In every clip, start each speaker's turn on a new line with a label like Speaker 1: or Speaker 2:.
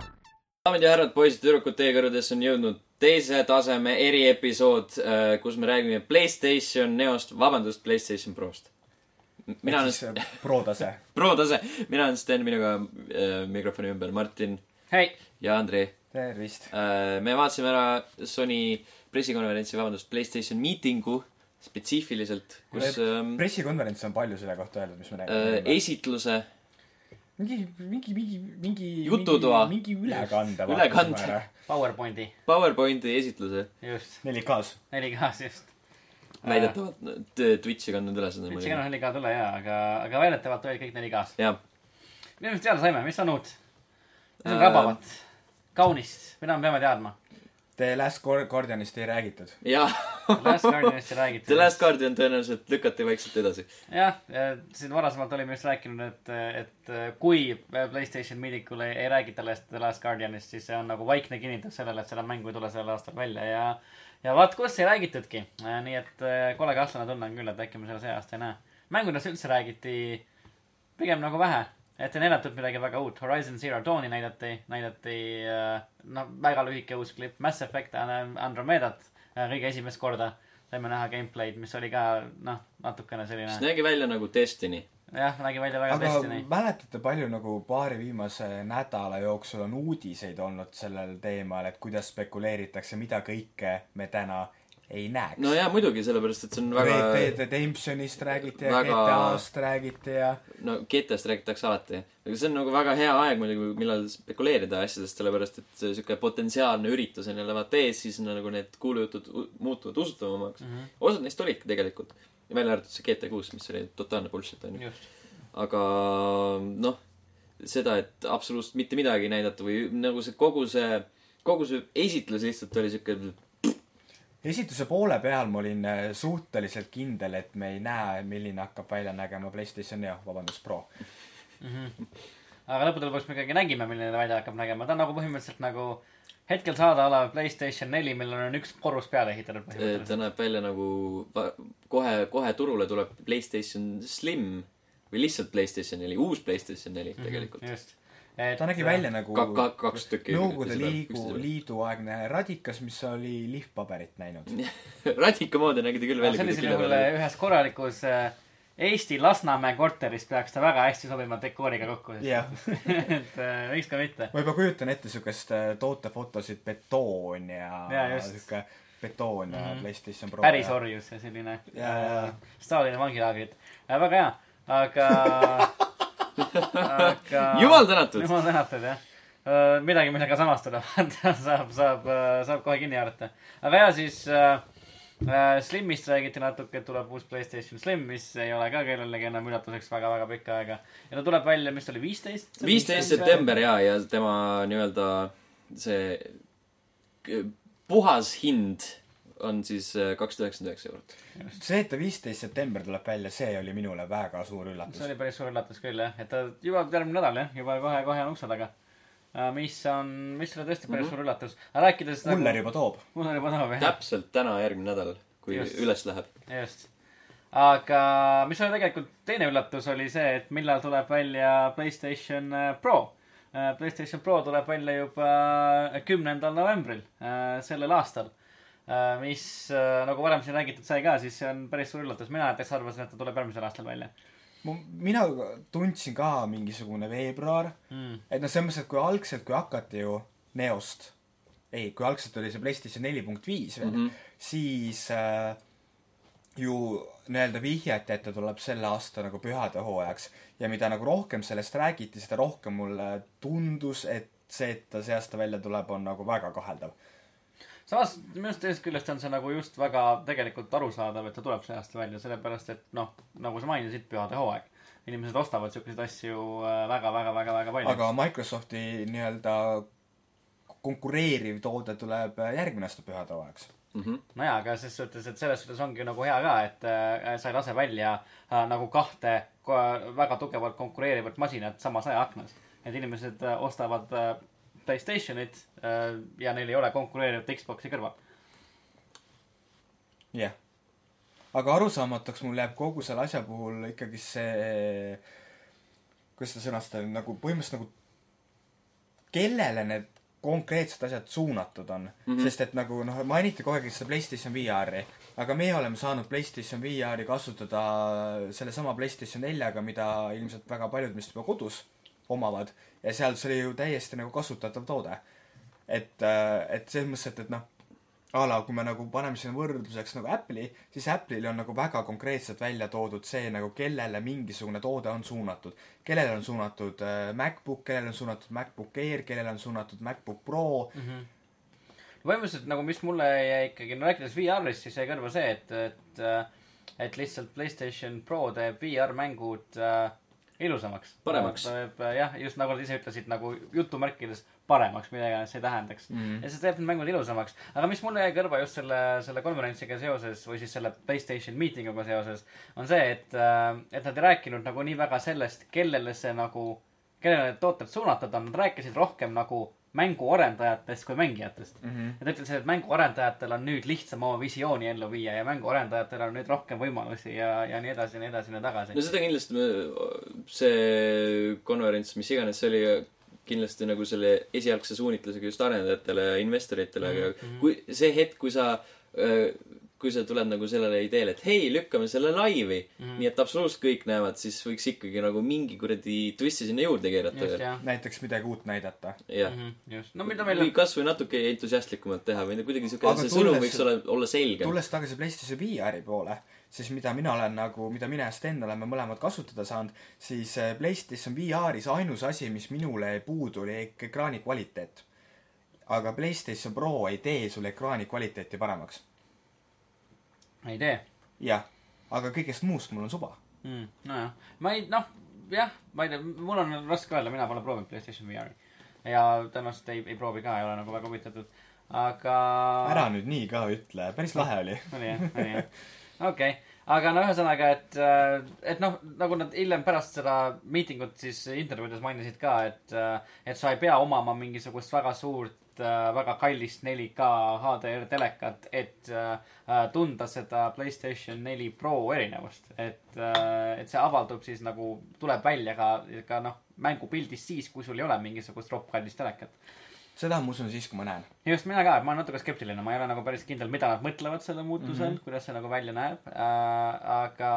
Speaker 1: daamid ja härrad , poisid ja tüdrukud , teie kõrvadesse on jõudnud teise taseme eriepisood , kus me räägime Playstation Neost , vabandust , Playstation Prost . mina olen ,
Speaker 2: äh, Pro-tase .
Speaker 1: Pro tase , mina olen Sten , minuga äh, mikrofoni ümber Martin
Speaker 3: hei ,
Speaker 1: ja Andrei
Speaker 2: tervist .
Speaker 1: Äh, me vaatasime ära Sony pressikonverentsi , vabandust , Playstation miitingu spetsiifiliselt , kus ähm,
Speaker 2: pressikonverentsis on palju selle kohta öeldud , mis me
Speaker 1: äh,
Speaker 2: nägime .
Speaker 1: esitluse ,
Speaker 2: mingi , mingi , mingi , mingi .
Speaker 1: Jututoa.
Speaker 2: mingi ülekande .
Speaker 1: Ülekande. .
Speaker 3: PowerPointi ,
Speaker 1: PowerPointi esitluse
Speaker 3: just ,
Speaker 2: 4K-s .
Speaker 3: neli kaas just . Äh.
Speaker 1: näidetavalt no, t- äh, Twitch'i kandnud üles .
Speaker 3: üldse ei ole neli kaas üle jaa , aga , aga väidetavalt olid kõik neli kaas .
Speaker 1: jah ,
Speaker 3: mida me teada saime , mis on uut ? mis on
Speaker 1: Äh,
Speaker 3: rabavat , kaunist , mida me peame teadma ?
Speaker 2: The Last Guar- Guardianist ei räägitud .
Speaker 1: ja
Speaker 3: Last Guardianist ei räägitud .
Speaker 1: The Last Guardian tõenäoliselt lükati vaikselt edasi .
Speaker 3: jah , siin varasemalt olime just rääkinud , et , et kui Playstation miidikul ei, ei räägita Last , The Last Guardianist , siis see on nagu vaikne kinnitus sellele , et seda mängu ei tule sellel aastal välja ja ja vaat kus ei räägitudki . nii et eh, kole kahtlane tunne on küll , et äkki me seda see aasta ei näe . mängudest üldse räägiti pigem nagu vähe , et ei näidatud midagi väga uut . Horizon Zero Dawni näidati , näidati eh, noh , väga lühike uus klipp Mass Effect And- Andromedat eh, kõige esimest korda saime näha gameplay'd , mis oli ka noh , natukene selline
Speaker 1: see nägi välja nagu Destiny .
Speaker 3: jah , nägi välja väga
Speaker 2: aga
Speaker 3: Destiny .
Speaker 2: mäletate , palju nagu paari viimase nädala jooksul on uudiseid olnud sellel teemal , et kuidas spekuleeritakse , mida kõike me täna ei näeks
Speaker 1: no jaa , muidugi , sellepärast et see on väga ,
Speaker 2: Red Dead Redemptionist räägiti ja
Speaker 1: väga-
Speaker 2: GTA-st räägiti ja
Speaker 1: no GT-st räägitakse alati , aga see on nagu väga hea aeg muidugi , millal spekuleerida asjadest , sellepärast et see sihuke potentsiaalne üritus on jälle vaata ees , siis on nagu need kuulujutud u- muutuvad usutavamaks mm . -hmm. osad neist olidki tegelikult , välja arvatud see GT kuus , mis oli totaalne bullshit onju .
Speaker 3: just ,
Speaker 1: aga noh , seda , et absoluutselt mitte midagi ei näidata või nagu see kogu see , kogu see esitlus lihtsalt oli sihuke ,
Speaker 2: esituse poole peal ma olin äh, suhteliselt kindel , et me ei näe , milline hakkab välja nägema Playstation Neo , vabandust , Pro .
Speaker 3: aga lõppude lõpuks me ikkagi nägime , milline ta välja hakkab nägema , ta on nagu põhimõtteliselt nagu hetkel saadaolev Playstation neli , millel on üks korrus peale ehitatud
Speaker 1: ta
Speaker 3: põhimõtteliselt .
Speaker 1: näeb välja nagu va- kohe , kohe turule tuleb Playstation Slim või lihtsalt Playstation neli , uus Playstation neli tegelikult .
Speaker 3: just . et
Speaker 2: ta nägi välja nagu
Speaker 1: ka- ka- kaks tükki
Speaker 2: Nõukogude
Speaker 1: seda
Speaker 2: liigu ,
Speaker 1: üksteisele.
Speaker 2: liiduaegne radikas , mis oli lihtpaberit näinud .
Speaker 1: radika moodi nägid küll välja .
Speaker 3: äh, sellisel juhul ühes korralikus äh, Eesti Lasnamäe korteris peaks ta väga hästi sobima dekooriga kokku .
Speaker 2: jah ,
Speaker 3: et äh, miks ka mitte .
Speaker 2: ma juba kujutan ette siukest äh, tootefotosid betoon ja,
Speaker 3: Jaa, just.
Speaker 2: siuke betoon mm -hmm.
Speaker 3: Mhm.
Speaker 2: Playstation Pro .
Speaker 3: päris . orjus ja selline
Speaker 2: Jaa, jaa.
Speaker 3: äh, Stalini vangilaagrid . väga hea , aga aga
Speaker 1: jumal tänatud .
Speaker 3: jumal tänatud jah . midagi , millega samastuda saab , saab , saab kohe kinni haarata . aga ja siis äh, äh, Slimist räägiti natuke , et tuleb uus Playstation Slim , mis ei ole ka kellelegi nagu enam üllatuseks väga-väga pikka aega . ja ta tuleb välja , mis ta oli , viisteist ?
Speaker 1: viisteist september ja , ja tema nii-öelda see k- puhas hind on siis äh, kakssada üheksakümmend üheksa eurot .
Speaker 2: see , et ta viisteist september tuleb välja , see oli minule väga suur üllatus
Speaker 3: see . oli päris suur üllatus küll jah , et ta jõuab järgmine nädal jah , juba kohe-kohe on ukse taga . mis on , mis oli tõesti päris mm -hmm. suur üllatus . aga rääkides nagu-
Speaker 2: Muller juba toob .
Speaker 3: Muller juba tahab jah ,
Speaker 1: Mhm. täpselt täna , järgmine nädal , kui
Speaker 3: Äh. Just.
Speaker 1: üles läheb .
Speaker 3: just . aga mis oli tegelikult teine üllatus , oli see , et millal tuleb välja Playstation äh, Pro . Playstation Pro tuleb välja juba kümnendal novembril äh, sellel aastal . mis äh, nagu varem siin räägitud sai ka , siis see on päris suur üllatus , mina näiteks arvasin , et ta tuleb järgmisel aastal välja
Speaker 2: mu , mina tundsin ka mingisugune veebruar ,
Speaker 3: mm. .
Speaker 2: et noh , selles mõttes , et kui algselt , kui hakati ju Neost , ei , kui algselt oli see PlayStation neli punkt viis veel mm ,
Speaker 1: Mhm.
Speaker 2: -hmm. siis äh, ju nii-öelda vihjati , et ta tuleb selle aasta nagu pühadehooajaks ja mida nagu rohkem sellest räägiti , seda rohkem mulle tundus , et see , et ta see aasta välja tuleb , on nagu väga kaheldav .
Speaker 3: samas minu arust teisest küljest on see nagu just väga tegelikult arusaadav , et ta tuleb see aasta välja , sellepärast et noh , nagu sa mainisid , pühade hooaeg . inimesed ostavad siukseid asju äh, väga-väga-väga-väga palju .
Speaker 2: aga Microsofti nii-öelda konkureeriv toode tuleb järgmine aasta pühadehooajaks .
Speaker 1: Mhm.
Speaker 3: nojaa , aga ses suhtes , et selles suhtes ongi nagu hea ka , et äh, sa ei lase välja äh, nagu kahte ko- väga tugevalt konkureerivat masinat samas ajaaknas . et inimesed äh, ostavad äh, Playstationit äh, ja neil ei ole konkureerivat Xbox'i kõrval .
Speaker 2: jah yeah. . aga arusaamatuks mul jääb kogu selle asja puhul ikkagi see , kuidas seda sõnastada , nagu põhimõtteliselt nagu kellele need konkreetsed asjad suunatud on mm . -hmm. sest et nagu noh , mainiti kogu aeg seda PlayStation VR-i , aga meie oleme saanud PlayStation VR-i kasutada sellesama PlayStation neljaga , mida ilmselt väga paljud meist juba kodus omavad ja seal see oli ju täiesti nagu kasutatav toode . et , et selles mõttes , et , et noh , a la kui me nagu paneme sinna võrdluseks nagu Apple'i , siis Apple'il on nagu väga konkreetselt välja toodud see nagu , kellele mingisugune toode on suunatud . kellele on suunatud äh, MacBook , kellele on suunatud MacBook Air , kellele on suunatud MacBook Pro mm . -hmm.
Speaker 3: põhimõtteliselt nagu , mis mulle jäi ikkagi , no rääkides VR-ist , siis jäi kõrva see , et , et , et lihtsalt Playstation Pro teeb VR-mängud äh, ilusamaks .
Speaker 1: Paremaks.
Speaker 3: jah , just nagu nad ise ütlesid , nagu jutumärkides paremaks , mida iganes see tähendaks mm . -hmm. ja see teeb need mängud ilusamaks . aga mis mulle jäi kõrva just selle , selle konverentsiga seoses või siis selle Playstation miitinguga seoses , on see , et äh, , et nad ei rääkinud nagu nii väga sellest , kellele see nagu , kellele need tooted suunatud on , nad rääkisid rohkem nagu mänguarendajatest kui mängijatest mm . -hmm. Nad ütlesid , et mänguarendajatel on nüüd lihtsam oma visiooni ellu viia ja mänguarendajatel on nüüd rohkem võimalusi ja , ja nii edasi ja nii edasi ja nii tagasi
Speaker 1: no seda kindlasti , see konverents , mis iganes see oli , kindlasti nagu selle esialgse suunitlusega just arendajatele ja investoritele , aga
Speaker 3: Mhm,
Speaker 1: kui see hetk , kui sa , kui sa tuled nagu sellele ideele , et hei , lükkame selle laivi mm ,
Speaker 3: Mhm.
Speaker 1: -hmm. nii et absoluutselt kõik näevad , siis võiks ikkagi nagu mingi kuradi twisti sinna juurde keerata
Speaker 3: just
Speaker 1: veel .
Speaker 3: jah
Speaker 2: näiteks midagi uut näidata .
Speaker 1: jah .
Speaker 3: Mhm, just , no mida meil
Speaker 1: või
Speaker 3: on ,
Speaker 1: kasvõi natuke entusiastlikumalt teha või kuidagi siuke ,
Speaker 2: Aga
Speaker 1: see sõnum
Speaker 2: tulles-
Speaker 1: võiks olla , olla selgem .
Speaker 2: tulles tagasi PlayStation VR-i poole , siis mida mina olen nagu , mida mina ja Sten oleme mõlemad kasutada saanud , siis eh, PlayStation VR-is ainus asi , mis minule puudu oli ek- ekraani kvaliteet . aga PlayStation Pro ei tee sulle ekraani kvaliteeti paremaks .
Speaker 3: ei tee
Speaker 2: jah , aga kõigest muust mul on suva .
Speaker 3: mm, . nojah , ma ei , noh , jah , ma ei tea , mul on raske öelda , mina pole proovinud Playstation VR-i . ja tõenäoliselt ei , ei proovi ka , ei ole nagu väga huvitatud , aga .
Speaker 2: ära nüüd nii ka ütle , päris lahe oli .
Speaker 3: oli jah , oli jah . okei okay. , aga no ühesõnaga , et , et noh , nagu nad hiljem pärast seda miitingut siis intervjuudes mainisid ka , et , et sa ei pea omama mingisugust väga suurt , väga kallist 4K HDR telekat , et äh, tunda seda Playstation 4 Pro erinevust . et , et see avaldub siis nagu , tuleb välja ka , ka noh , mängupildis siis , kui sul ei ole mingisugust roppkallist telekat .
Speaker 2: seda ma usun siis , kui ma näen .
Speaker 3: just , mina ka , ma olen natuke skeptiline , ma ei ole nagu päris kindel , mida nad mõtlevad selle muutusel mm , -hmm. kuidas see nagu välja näeb äh, . aga ,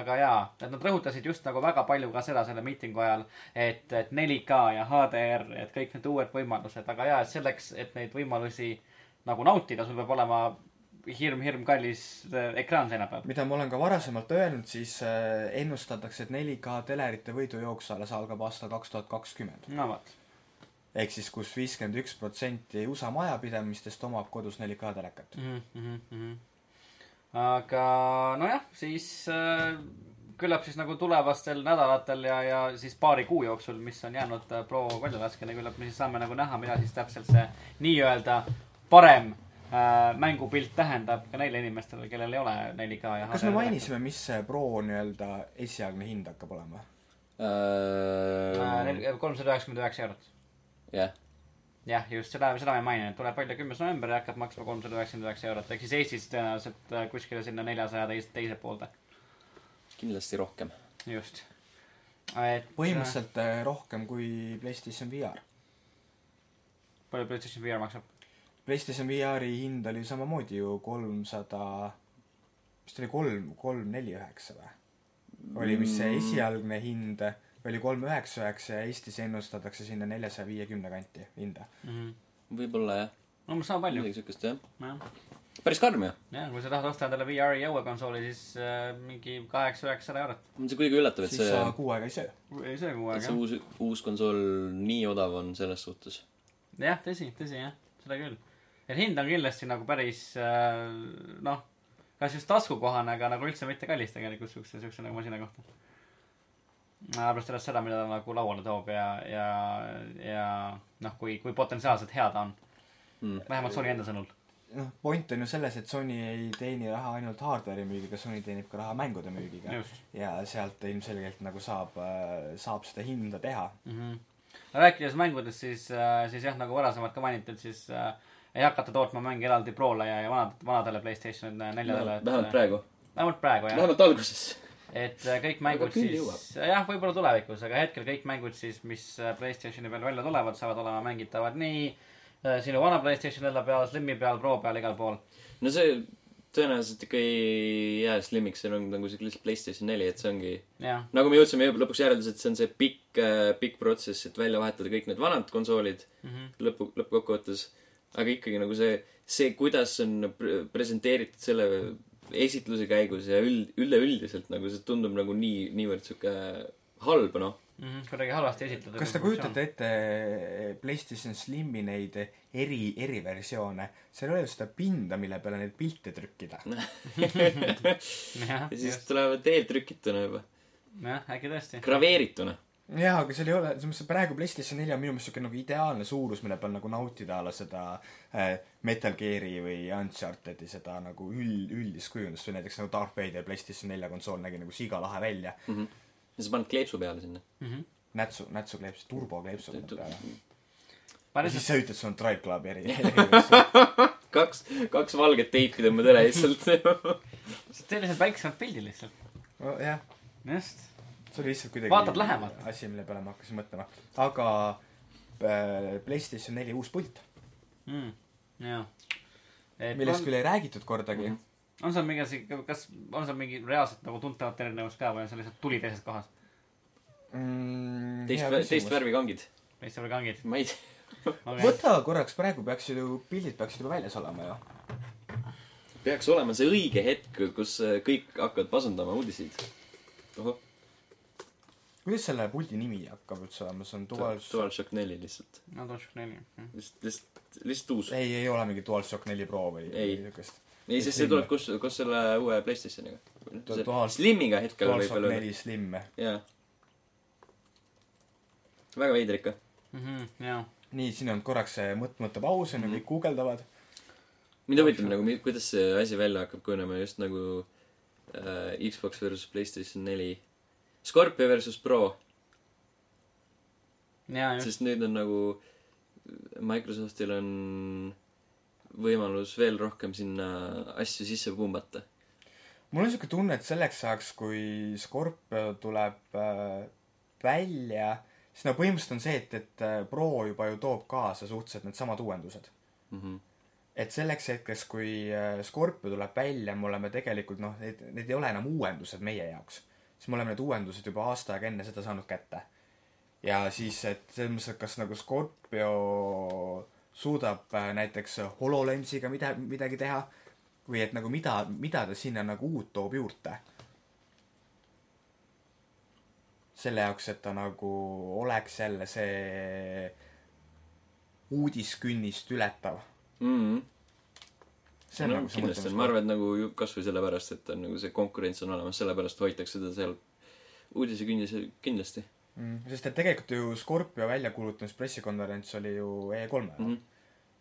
Speaker 3: aga jaa , et nad rõhutasid just nagu väga palju ka seda selle miitingu ajal , et , et 4K ja HDR , et kõik need uued võimalused , aga jaa , et selleks , et neid võimalusi nagu nautida , sul peab olema hirm-hirm kallis äh, ekraan seina peal .
Speaker 2: mida ma olen ka varasemalt öelnud , siis eh, ennustatakse , et 4K telerite võidujooks alles algab aastal kaks tuhat kakskümmend .
Speaker 3: no vot ,
Speaker 2: ehk siis kus viiskümmend üks protsenti USA majapidamistest omab kodus 4K telekat .
Speaker 3: Mm-hmm. aga nojah , siis äh, küllap siis nagu tulevastel nädalatel ja , ja siis paari kuu jooksul , mis on jäänud äh, Pro väljalaskele , küllap me siis saame nagu näha , mida siis täpselt see nii-öelda parem äh, mängupilt tähendab ka neile inimestele , kellel ei ole 4K ja
Speaker 2: kas me ? mainisime , mis see Pro nii-öelda esialgne hind hakkab olema ?
Speaker 3: Äh, kolmsada üheksakümmend üheksa eurot .
Speaker 1: Äh, jah ,
Speaker 3: jah , just seda , seda ma ei maininud , tuleb välja kümnes november ja hakkab maksma kolmsada üheksakümmend üheksa eurot , ehk siis Eestis tõenäoliselt äh, kuskile sinna neljasaja teise , teise poolde .
Speaker 1: kindlasti rohkem .
Speaker 3: just . et .
Speaker 2: põhimõtteliselt äh, rohkem kui PlayStation VR .
Speaker 3: palju PlayStation VR maksab ?
Speaker 2: PlayStation VR-i hind oli ju samamoodi ju kolmsada , vist oli kolm , kolm neli üheksa või ? oli , mis see
Speaker 1: Mm.
Speaker 2: esialgne hind oli kolm üheksa üheksa ja Eestis ennustatakse sinna neljasaja viiekümne kanti hinda .
Speaker 1: võib-olla jah ,
Speaker 3: umbes sama palju .
Speaker 1: midagi siukest jah .
Speaker 3: jah ,
Speaker 1: päris karm ju
Speaker 3: jah , kui sa tahad osta endale VR-i jõuekonsooli , siis äh, mingi kaheksa-üheksasada eurot .
Speaker 1: on see kuidagi üllatav , et
Speaker 2: siis
Speaker 1: see ,
Speaker 2: sa kuu aega ei söö .
Speaker 3: ei söö kuu
Speaker 1: et
Speaker 3: aega
Speaker 1: see . uus , uus konsool nii odav on selles suhtes .
Speaker 3: jah , tõsi , tõsi jah , seda küll . et hind on kindlasti nagu päris äh, noh , kas just taskukohane , aga nagu üldse mitte kallis tegelikult siukse , siukse nagu masina kohta . arvestades seda , mida ta nagu lauale toob ja , ja , ja noh , kui , kui potentsiaalselt hea ta on
Speaker 1: Mm.
Speaker 3: mm. . vähemalt Sony enda sõnul .
Speaker 2: noh , point on ju selles , et Sony ei teeni raha ainult hardware'i müügiga , Sony teenib ka raha mängude müügiga .
Speaker 3: just .
Speaker 2: ja sealt ilmselgelt nagu saab , saab seda hinda teha .
Speaker 3: mm . -hmm. rääkides mängudest , siis , siis jah , nagu varasemalt ka mainitud , siis äh, ei hakata tootma mänge eraldi Prole ja , ja vanad , vanadele Playstation äh, neljadele .
Speaker 1: vähemalt . praegu ,
Speaker 3: vähemalt praegu jah .
Speaker 1: vähemalt alguses .
Speaker 3: et äh, kõik mängud
Speaker 1: küll
Speaker 3: siis ,
Speaker 1: jõuab.
Speaker 3: jah , võib-olla tulevikus , aga hetkel kõik mängud siis , mis äh, Playstationi peal välja tulevad , saavad olema mängitavad nii äh, sinu vana Playstationi õlle peal , Slimi peal , Pro peal , igal pool .
Speaker 1: no see tõenäoliselt ikka ei jää slimmiks , see on nagu siuke lihtsalt Playstation neli , et see ongi
Speaker 3: jah ,
Speaker 1: nagu me jõudsime jõu- lõpuks järeldusele , et see on see pikk , pikk protsess , et välja vahetada kõik need vanad konsoolid mm -hmm. lõpu , lõppkokkuvõttes . aga ikkagi nagu see , see , kuidas on pre- presenteeritud selle esitluse käigus ja üld , üleüldiselt nagu see tundub nagu nii , niivõrd sihuke halb , noh .
Speaker 3: mhm, kuidagi halvasti esitatud .
Speaker 2: kas te kujutate ette eh, PlayStation Slimi neid eri , eriversioone ? seal ei ole ju seda pinda , mille peale neid pilte trükkida .
Speaker 3: jah
Speaker 1: ja , siis tulevad eeltrükituna juba ,
Speaker 3: jah , äkki tõesti .
Speaker 1: graveerituna .
Speaker 2: jaa , aga seal ei ole , selles mõttes et praegu PlayStation neli on minu meelest niisugune nagu ideaalne suurus , mille peal nagu nautida a la seda äh, Metal Gear'i või Uncharted'i seda nagu üld , üldist kujundust või näiteks nagu Darth Vader PlayStation nelja konsool nägi nagu siga lahe välja .
Speaker 1: ja sa paned kleepsu peale sinna .
Speaker 3: Mhm.
Speaker 2: nätsu , nätsukleeps , turbokleeps on peal .
Speaker 3: ma
Speaker 2: ja
Speaker 3: lihtsalt
Speaker 2: siis sa ütled , see on Drive Club eri , eriversioon .
Speaker 1: kaks , kaks valget teipi tõmbad üle lihtsalt .
Speaker 3: tee lihtsalt väiksemad pildid lihtsalt .
Speaker 2: No jah ,
Speaker 3: just .
Speaker 2: see oli lihtsalt kuidagi
Speaker 3: Vaatad lähemalt.
Speaker 2: asi , mille peale ma hakkasin mõtlema . aga äh, PlayStation neli uus pult ,
Speaker 3: Hmm, jah .
Speaker 2: millest küll ei räägitud kordagi .
Speaker 1: Mhm.
Speaker 3: on seal mingi asi , kas on seal mingi reaalselt nagu tuntavat erinevust ka või on see lihtsalt tuli teises kohas ?
Speaker 2: Mm,
Speaker 1: teist , teist . värvi kangid .
Speaker 3: teiste peal kangid
Speaker 1: ma ei tea .
Speaker 3: okay. .
Speaker 2: võta korraks , praegu peaksid ju , pildid peaksid juba väljas olema ju .
Speaker 1: peaks olema see õige hetk , kus äh, kõik hakkavad pasundama uudiseid . ohoh ,
Speaker 2: kuidas selle puldi nimi hakkab üldse olema , see on Dual- ,
Speaker 1: DualShock neli lihtsalt .
Speaker 3: no tundus küll nii .
Speaker 1: lihtsalt , lihtsalt , lihtsalt uus .
Speaker 2: ei , ei ole mingi DualShock neli Pro või
Speaker 1: Ei.
Speaker 2: niisugust .
Speaker 1: ei , sest see
Speaker 2: Slim.
Speaker 1: tuleb koos , koos selle uue Playstationiga
Speaker 2: Ta- Dual- .
Speaker 1: Slimiga hetkel võib
Speaker 2: DualShock
Speaker 1: veel olla .
Speaker 2: neli Slim .
Speaker 1: jaa . väga veider ikka .
Speaker 3: Mhm, jah .
Speaker 2: nii , siin on korraks see mõt- , mõttepaus
Speaker 1: Mhm.
Speaker 2: on ju , kõik guugeldavad .
Speaker 1: mind huvitab nagu , kuidas see asi välja hakkab kujunema just nagu äh, Xbox versus Playstation neli . Scorpio versus Pro
Speaker 3: ja , just .
Speaker 1: sest nüüd on nagu Microsoftil on võimalus veel rohkem sinna asju sisse pumbata .
Speaker 2: mul on niisugune tunne , et selleks ajaks , kui Scorpio tuleb äh, välja , siis no põhimõtteliselt on see , et , et äh, Pro juba ju toob kaasa suhteliselt needsamad uuendused .
Speaker 1: Mhm.
Speaker 2: et selleks hetkeks , kui äh, Scorpio tuleb välja , me oleme tegelikult noh , need , need ei ole enam uuendused meie jaoks . siis me oleme need uuendused juba aasta aega enne seda saanud kätte . ja siis , et selles mõttes , et kas nagu Scorpio suudab äh, näiteks HoloLensiga mida , midagi teha või et nagu mida , mida ta sinna nagu uut toob juurde . selle jaoks , et ta nagu oleks jälle see uudiskünnist ületav see on
Speaker 1: Mhm. no
Speaker 2: nagu see
Speaker 1: kindlasti on , ma arvan , et nagu ju- kasvõi sellepärast , et on nagu see konkurents on olemas , sellepärast hoitakse teda seal uudisekünnis kindlasti .
Speaker 2: mõtlemine . sest et tegelikult ju Scorpio väljakuulutamispressikonverents oli ju E3-l mm . -hmm.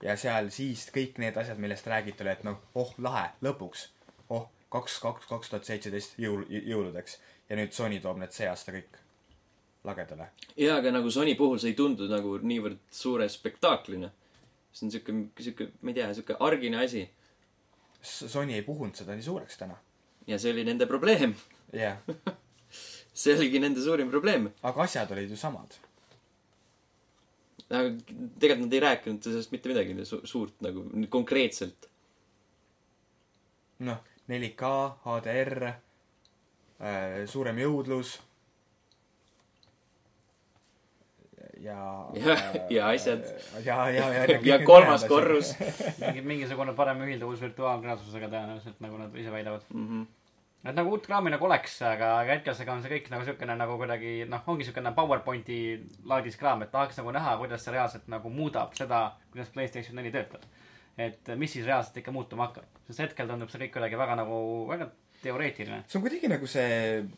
Speaker 2: ja seal siis kõik need asjad , millest räägiti , oli , et noh , oh lahe , lõpuks . oh , kaks , kaks , kaks tuhat seitseteist jõul , jõuludeks . ja nüüd Sony toob need see aasta kõik lagedale .
Speaker 1: jaa , aga nagu Sony puhul see ei tundu nagu niivõrd suure spektaaklina . see on siuke , siuke , ma ei tea , siuke argine asi
Speaker 2: Sony ei puhunud seda nii suureks täna .
Speaker 1: ja see oli nende probleem .
Speaker 2: jah yeah. ,
Speaker 1: see oligi nende suurim probleem .
Speaker 2: aga asjad olid ju samad .
Speaker 1: aga tegelikult nad ei rääkinud sellest mitte midagi su suurt nagu nüüd konkreetselt .
Speaker 2: noh , 4K , HDR äh, , äh, suurem jõudlus . ja .
Speaker 1: Ja- ja asjad. .
Speaker 2: ja , ja , ja . nagu
Speaker 1: ja kolmas . korrus .
Speaker 3: mingi , mingisugune parem ühilduvus virtuaalreaalsusega tõenäoliselt , nagu nad ise väidavad mm . -hmm. et nagu uut kraami nagu oleks , aga , aga hetkel seega on see kõik nagu siukene nagu kuidagi noh , ongi siukene PowerPointi laadis kraam , et tahaks nagu näha , kuidas see reaalselt nagu muudab seda , kuidas Playstation neli töötab . et mis siis reaalselt ikka muutuma hakkab , sest hetkel tundub see kõik kuidagi väga nagu , väga teoreetiline .
Speaker 2: see on kuidagi nagu see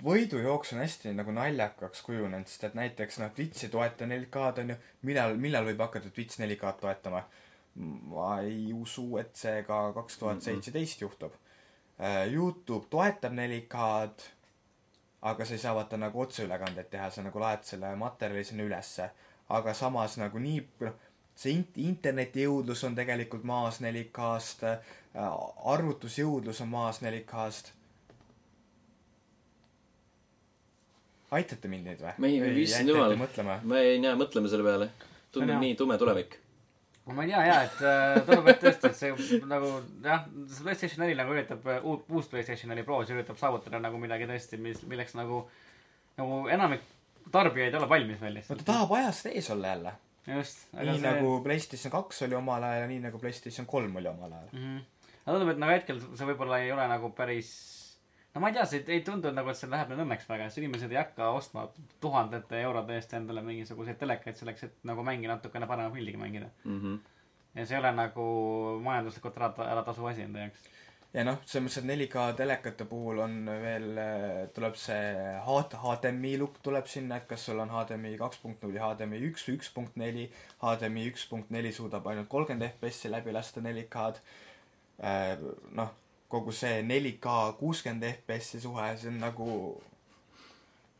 Speaker 2: võidujooks on hästi nagu naljakaks kujunenud , sest et näiteks noh , Twitch ei toeta 4K-d onju , millal , millal võib hakata Twitch 4K-d toetama ? ma ei usu , et see ka kaks tuhat seitseteist juhtub . Youtube toetab 4K-d , aga sa ei saa vaata nagu otseülekandeid teha , sa nagu laed selle materjali sinna ülesse . aga samas nagu nii , noh , see int- , interneti jõudlus on tegelikult maas äh, 4K-st , arvutusjõudlus on maas 4K-st aitate mind nüüd või ?
Speaker 1: Mehi,
Speaker 2: Või
Speaker 1: issand
Speaker 2: jäite
Speaker 1: jumal.
Speaker 2: ette mõtlema ?
Speaker 1: ma ei näe , mõtleme selle peale .
Speaker 3: See
Speaker 1: tundub
Speaker 3: on hea.
Speaker 1: nii tume tulevik .
Speaker 3: ma ei tea jaa , et äh, tundub , et tõesti , et see nagu jah , see Playstation neli nagu üritab , uut , uus Playstation neli Pro , see üritab saavutada nagu midagi tõesti , mis , milleks nagu , nagu enamik tarbijaid ei ole valmis veel
Speaker 2: no
Speaker 3: lihtsalt
Speaker 2: ta . tahab ajast ees olla jälle .
Speaker 3: just , aga
Speaker 2: nii
Speaker 3: see nagu...
Speaker 2: nagu PlayStation kaks oli omal ajal ja nii nagu PlayStation kolm oli omal ajal .
Speaker 3: mm -hmm. aga tundub , et nagu hetkel see võib-olla ei ole nagu päris no ma ei tea , see ei- ei tundu nagu , et see läheb nüüd õnneks väga , sest inimesed ei hakka ostma tuhandete eurode eest endale mingisuguseid telekaid selleks , et nagu mängi natukene parema pildiga mängida .
Speaker 1: Mhm.
Speaker 3: ja see ei ole nagu majanduslikult ära , ära tasuv asi enda jaoks .
Speaker 2: ja noh , selles mõttes , et 4K telekate puhul on veel , tuleb see H- HDMI lukk tuleb sinna , et kas sul on HDMI kaks punkt null ja HDMI üks või üks punkt neli . HDMI üks punkt neli suudab ainult kolmkümmend FPS-i läbi lasta 4K-d . noh , kogu see 4K kuuskümmend FPS-i suhe , see on nagu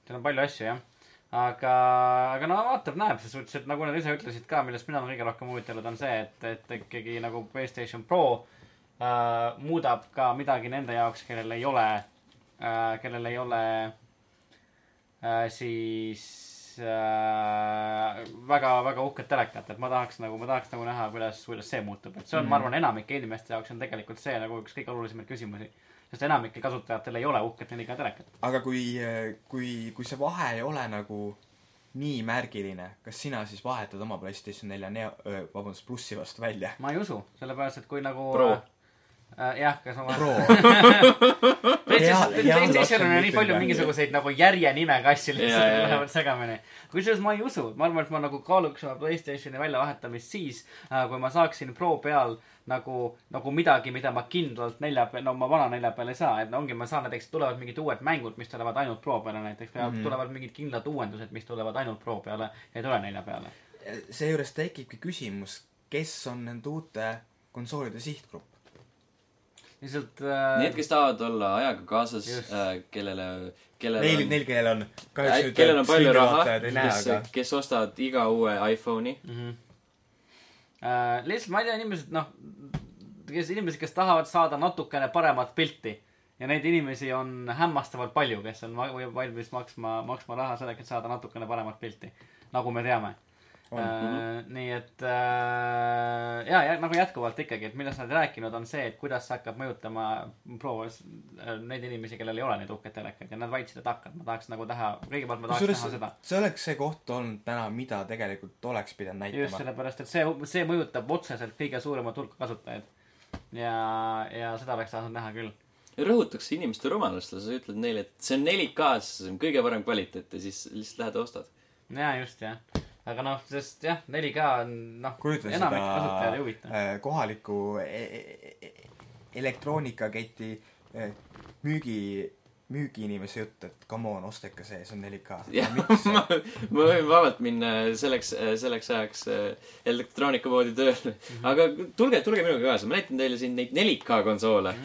Speaker 3: seal on palju asju jah , aga , aga no vaatab-näeb , selles suhtes , et nagu nad ise ütlesid ka , millest mina olen kõige rohkem huvitatud , on see , et , et ikkagi nagu Playstation Pro äh, muudab ka midagi nende jaoks , kellel ei ole äh, , kellel ei ole äh, siis äh, väga , väga uhket telekat , et ma tahaks nagu , ma tahaks nagu näha , kuidas , kuidas see muutub , et see on mm. , ma arvan , enamike inimeste jaoks on tegelikult see nagu üks kõige olulisemaid küsimusi sest enamikel kasutajatel ei ole uhket 4K telekat .
Speaker 2: aga kui , kui , kui see vahe ei ole nagu nii märgiline , kas sina siis vahetad oma PlayStation nelja neo- , vabandust , plussi vastu välja ?
Speaker 3: ma ei usu , sellepärast et kui nagu
Speaker 1: Pro.
Speaker 3: äh, jah , kas ma vahetan .
Speaker 2: Pro . Hea- hea lapse
Speaker 3: PlayStationil on nii palju
Speaker 2: mõtlemine.
Speaker 3: mingisuguseid nagu järjenimega asju
Speaker 1: Jaa,
Speaker 3: lihtsalt
Speaker 1: jaa, jaa.
Speaker 3: lähevad segamini . kusjuures ma ei usu , ma arvan , et ma nagu kaaluks oma Playstationi väljavahetamist siis , kui ma saaksin Pro peal nagu , nagu midagi , mida ma kindlalt nelja peal , no ma vana nelja peal ei saa , et no ongi , ma saan näiteks , tulevad mingid uued mängud , mis tulevad ainult Pro peale näiteks ,
Speaker 1: Mhm.
Speaker 3: tulevad mingid kindlad uuendused , mis tulevad ainult Pro peale , ei tule nelja peale .
Speaker 2: seejuures tekibki küsimus , kes on nende uute konsoolide sihtgrupp ?
Speaker 3: lihtsalt äh,
Speaker 1: Need , kes tahavad olla ajaga kaasas äh,
Speaker 3: Just. ,
Speaker 1: kellele , kellel
Speaker 2: Neil , neil , kellel on .
Speaker 1: on , kellel on palju raha ,
Speaker 2: ei näe ,
Speaker 1: kes
Speaker 2: aga ,.
Speaker 1: kes ostavad iga uue iPhone'i .
Speaker 3: Äh, lihtsalt ma ei tea , inimesed noh , kes inimesed , kes tahavad saada natukene paremat pilti ja neid inimesi on hämmastavalt palju , kes on va- või- valmis maksma , maksma raha selleks , et saada natukene paremat pilti , nagu me teame .
Speaker 2: On. Mhm.
Speaker 3: Äh, nii et äh, ja , ja nagu jätkuvalt ikkagi , et millest nad ei rääkinud , on see , et kuidas see hakkab mõjutama proos äh, neid inimesi , kellel ei ole neid uhkeid telekaid ja nad väitsid , et hakkab , ma tahaks nagu teha , kõigepealt ma tahaks
Speaker 2: kusjuures
Speaker 3: näha seda .
Speaker 2: see oleks see koht olnud täna , mida tegelikult oleks pidanud
Speaker 3: just
Speaker 2: näitama .
Speaker 3: sellepärast , et see , see mõjutab otseselt kõige suuremat hulka kasutajaid . ja , ja seda oleks tahtnud näha küll .
Speaker 1: rõhutakse inimeste rumalust , sa ütled neile , et see on 4K-s , see on kõige parem kvaliteet ja siis lihtsalt lähed ostad .
Speaker 3: ja just jah , aga noh , sest jah , 4K on noh ,
Speaker 2: kujuta
Speaker 3: enamik kasutajaid ei huvita .
Speaker 2: seda äh, kohaliku e- e- e- elektroonikaketi äh, müügi , müügiinimese juttu , et come on , ostake see , see on 4K .
Speaker 1: jah ,
Speaker 2: miks
Speaker 1: ma , ma võin vabalt minna selleks , selleks ajaks äh, elektroonikapoodi tööle .
Speaker 3: Mhm.
Speaker 1: aga tulge , tulge minuga kaasa , ma näitan teile siin neid 4K konsoole .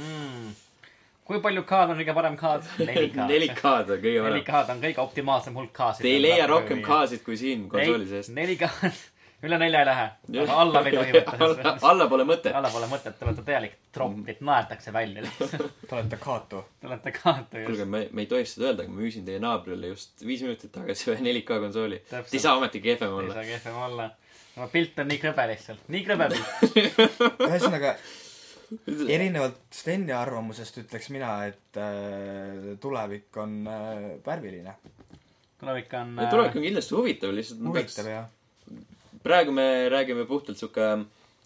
Speaker 3: kui palju K-d on kõige parem K-d ? 4K .
Speaker 1: on kõige parem .
Speaker 3: 4K-d on kõige optimaalsem hulk K-sid .
Speaker 1: Te ei leia rohkem K-sid kui siin konsooli sees .
Speaker 3: 4K-d , üle nelja ei lähe . aga alla me ei tohi võtta .
Speaker 1: allapoole mõtet .
Speaker 3: alla pole mõtet , te olete täielik tropp , teid naerdakse välja lihtsalt .
Speaker 2: te olete Kato ?
Speaker 3: Te olete K-d ju .
Speaker 1: kuulge , me , me ei tohiks seda öelda , aga ma müüsin teie naabrile just viis minutit tagasi ühe 4K konsooli .
Speaker 3: Täpselt.
Speaker 1: Te ei saa ometi kehvem
Speaker 3: ei
Speaker 1: olla .
Speaker 3: saa kehvem olla . no pilt on nii krõbe lihtsalt , nii krõbe pilt .
Speaker 2: ühesõnaga , erinevalt Steni arvamusest ütleks mina , et äh, tulevik on äh, värviline .
Speaker 3: tulevik on . äh,
Speaker 1: tulevik on kindlasti huvitav , lihtsalt ma peaks
Speaker 2: huvitav , jah .
Speaker 1: praegu me räägime puhtalt sihuke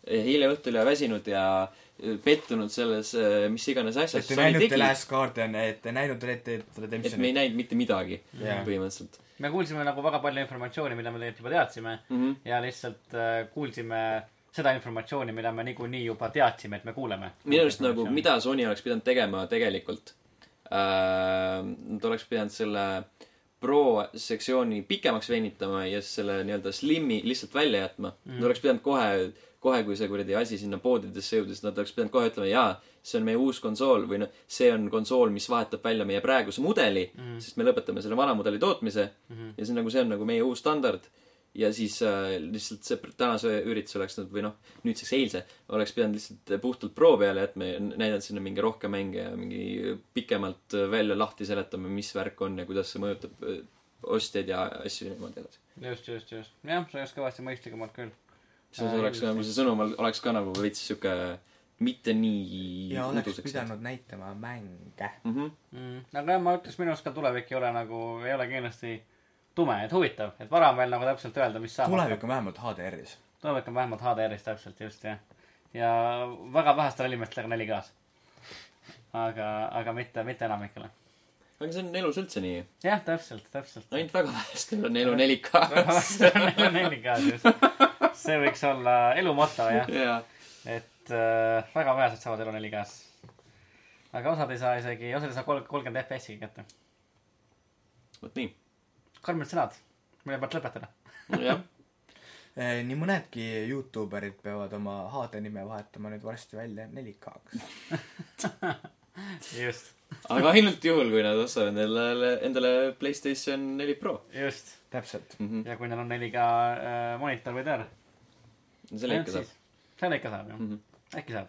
Speaker 1: eile õhtul ja väsinud ja eh, pettunud selles , mis iganes asjas
Speaker 2: et ei
Speaker 1: Sony
Speaker 2: näinud The
Speaker 1: tegi ,
Speaker 2: Last Guardian , et ei näinud Red Dead
Speaker 1: et me ei
Speaker 2: Redemptioni .
Speaker 1: näinud mitte midagi
Speaker 2: Jah.
Speaker 1: põhimõtteliselt .
Speaker 3: me kuulsime nagu väga palju informatsiooni , mida me tegelikult juba teadsime mm
Speaker 1: Mhm.
Speaker 3: ja lihtsalt äh, kuulsime seda informatsiooni , mida me niikuinii juba teadsime , et me kuuleme .
Speaker 1: minu arust nagu , mida Sony oleks pidanud tegema tegelikult äh, , nad oleks pidanud selle Pro sektsiooni pikemaks venitama ja siis selle nii-öelda slim'i lihtsalt välja jätma mm. . Nad oleks pidanud kohe , kohe , kui see kuradi asi sinna poodidesse jõudis , nad oleks pidanud kohe ütlema , jaa , see on meie uus konsool või noh , see on konsool , mis vahetab välja meie praeguse mudeli mm. , sest me lõpetame selle vana mudeli tootmise mm. ja see on nagu , see on nagu meie uus standard ja siis äh, lihtsalt see pr- tänase ürituse oleks nad või noh , nüüdseks eilse oleks pidanud lihtsalt puhtalt pro peale jätma ja n- näidanud sinna mingi rohkem mänge ja mingi pikemalt äh, välja lahti seletama , mis värk on ja kuidas see mõjutab äh, ostjaid ja asju ja niimoodi edasi .
Speaker 3: just , just , just . jah , see oleks kõvasti mõistlikumalt küll . Äh,
Speaker 1: siis
Speaker 2: Äh,
Speaker 3: Aa,
Speaker 1: oleks nagu see sõnum ol- oleks ka nagu veits sihuke mitte nii
Speaker 2: ja oleks pidanud näitama mänge .
Speaker 1: mhmh
Speaker 3: mm. . aga jah , ma ütleks , minu arust ka tulevik ei ole nagu , ei ole kindlasti tume , et huvitav , et vara on veel nagu täpselt öelda , mis saab .
Speaker 2: tulevik on vähemalt HDR-is .
Speaker 3: tulevik on vähemalt HDR-is täpselt , just jah . ja väga vähestel inimestel on 4K-s . aga , aga mitte , mitte enamikule .
Speaker 1: aga see on elus üldse nii
Speaker 3: jah , täpselt , täpselt .
Speaker 1: ainult väga vähestel on elu 4K-s
Speaker 3: neljas just . see võiks olla elu moto jah ,
Speaker 1: jaa
Speaker 3: et äh, väga vähesed saavad elu neljas . aga osad ei saa isegi , osad ei saa kolmkümmend FPS-i kätte .
Speaker 1: vot nii
Speaker 3: karmid sõnad , mille pealt lõpetada .
Speaker 1: jah
Speaker 2: Äh, nii mõnedki Youtube erid peavad oma HD nime vahetama nüüd varsti välja 4K-ks .
Speaker 1: Mhm.
Speaker 3: just ,
Speaker 1: aga ainult juhul kui nad ostavad endale endale Playstation 4 Pro
Speaker 3: just .
Speaker 2: täpselt .
Speaker 1: mhmh
Speaker 3: ja kui neil on 4K äh, monitor või tör .
Speaker 1: selle ikka saab
Speaker 3: selle ikka saab jah mm ,
Speaker 1: Mhm.
Speaker 3: -hmm. äkki saab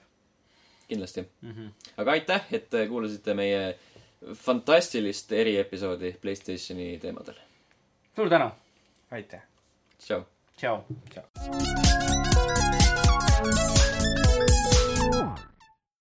Speaker 1: kindlasti
Speaker 3: mm . -hmm.
Speaker 1: aga aitäh , et kuulasite meie fantastilist eriepisoodi Playstationi teemadel
Speaker 3: suur tänu ,
Speaker 2: aitäh .
Speaker 1: tšau
Speaker 3: tšau .
Speaker 2: tšau .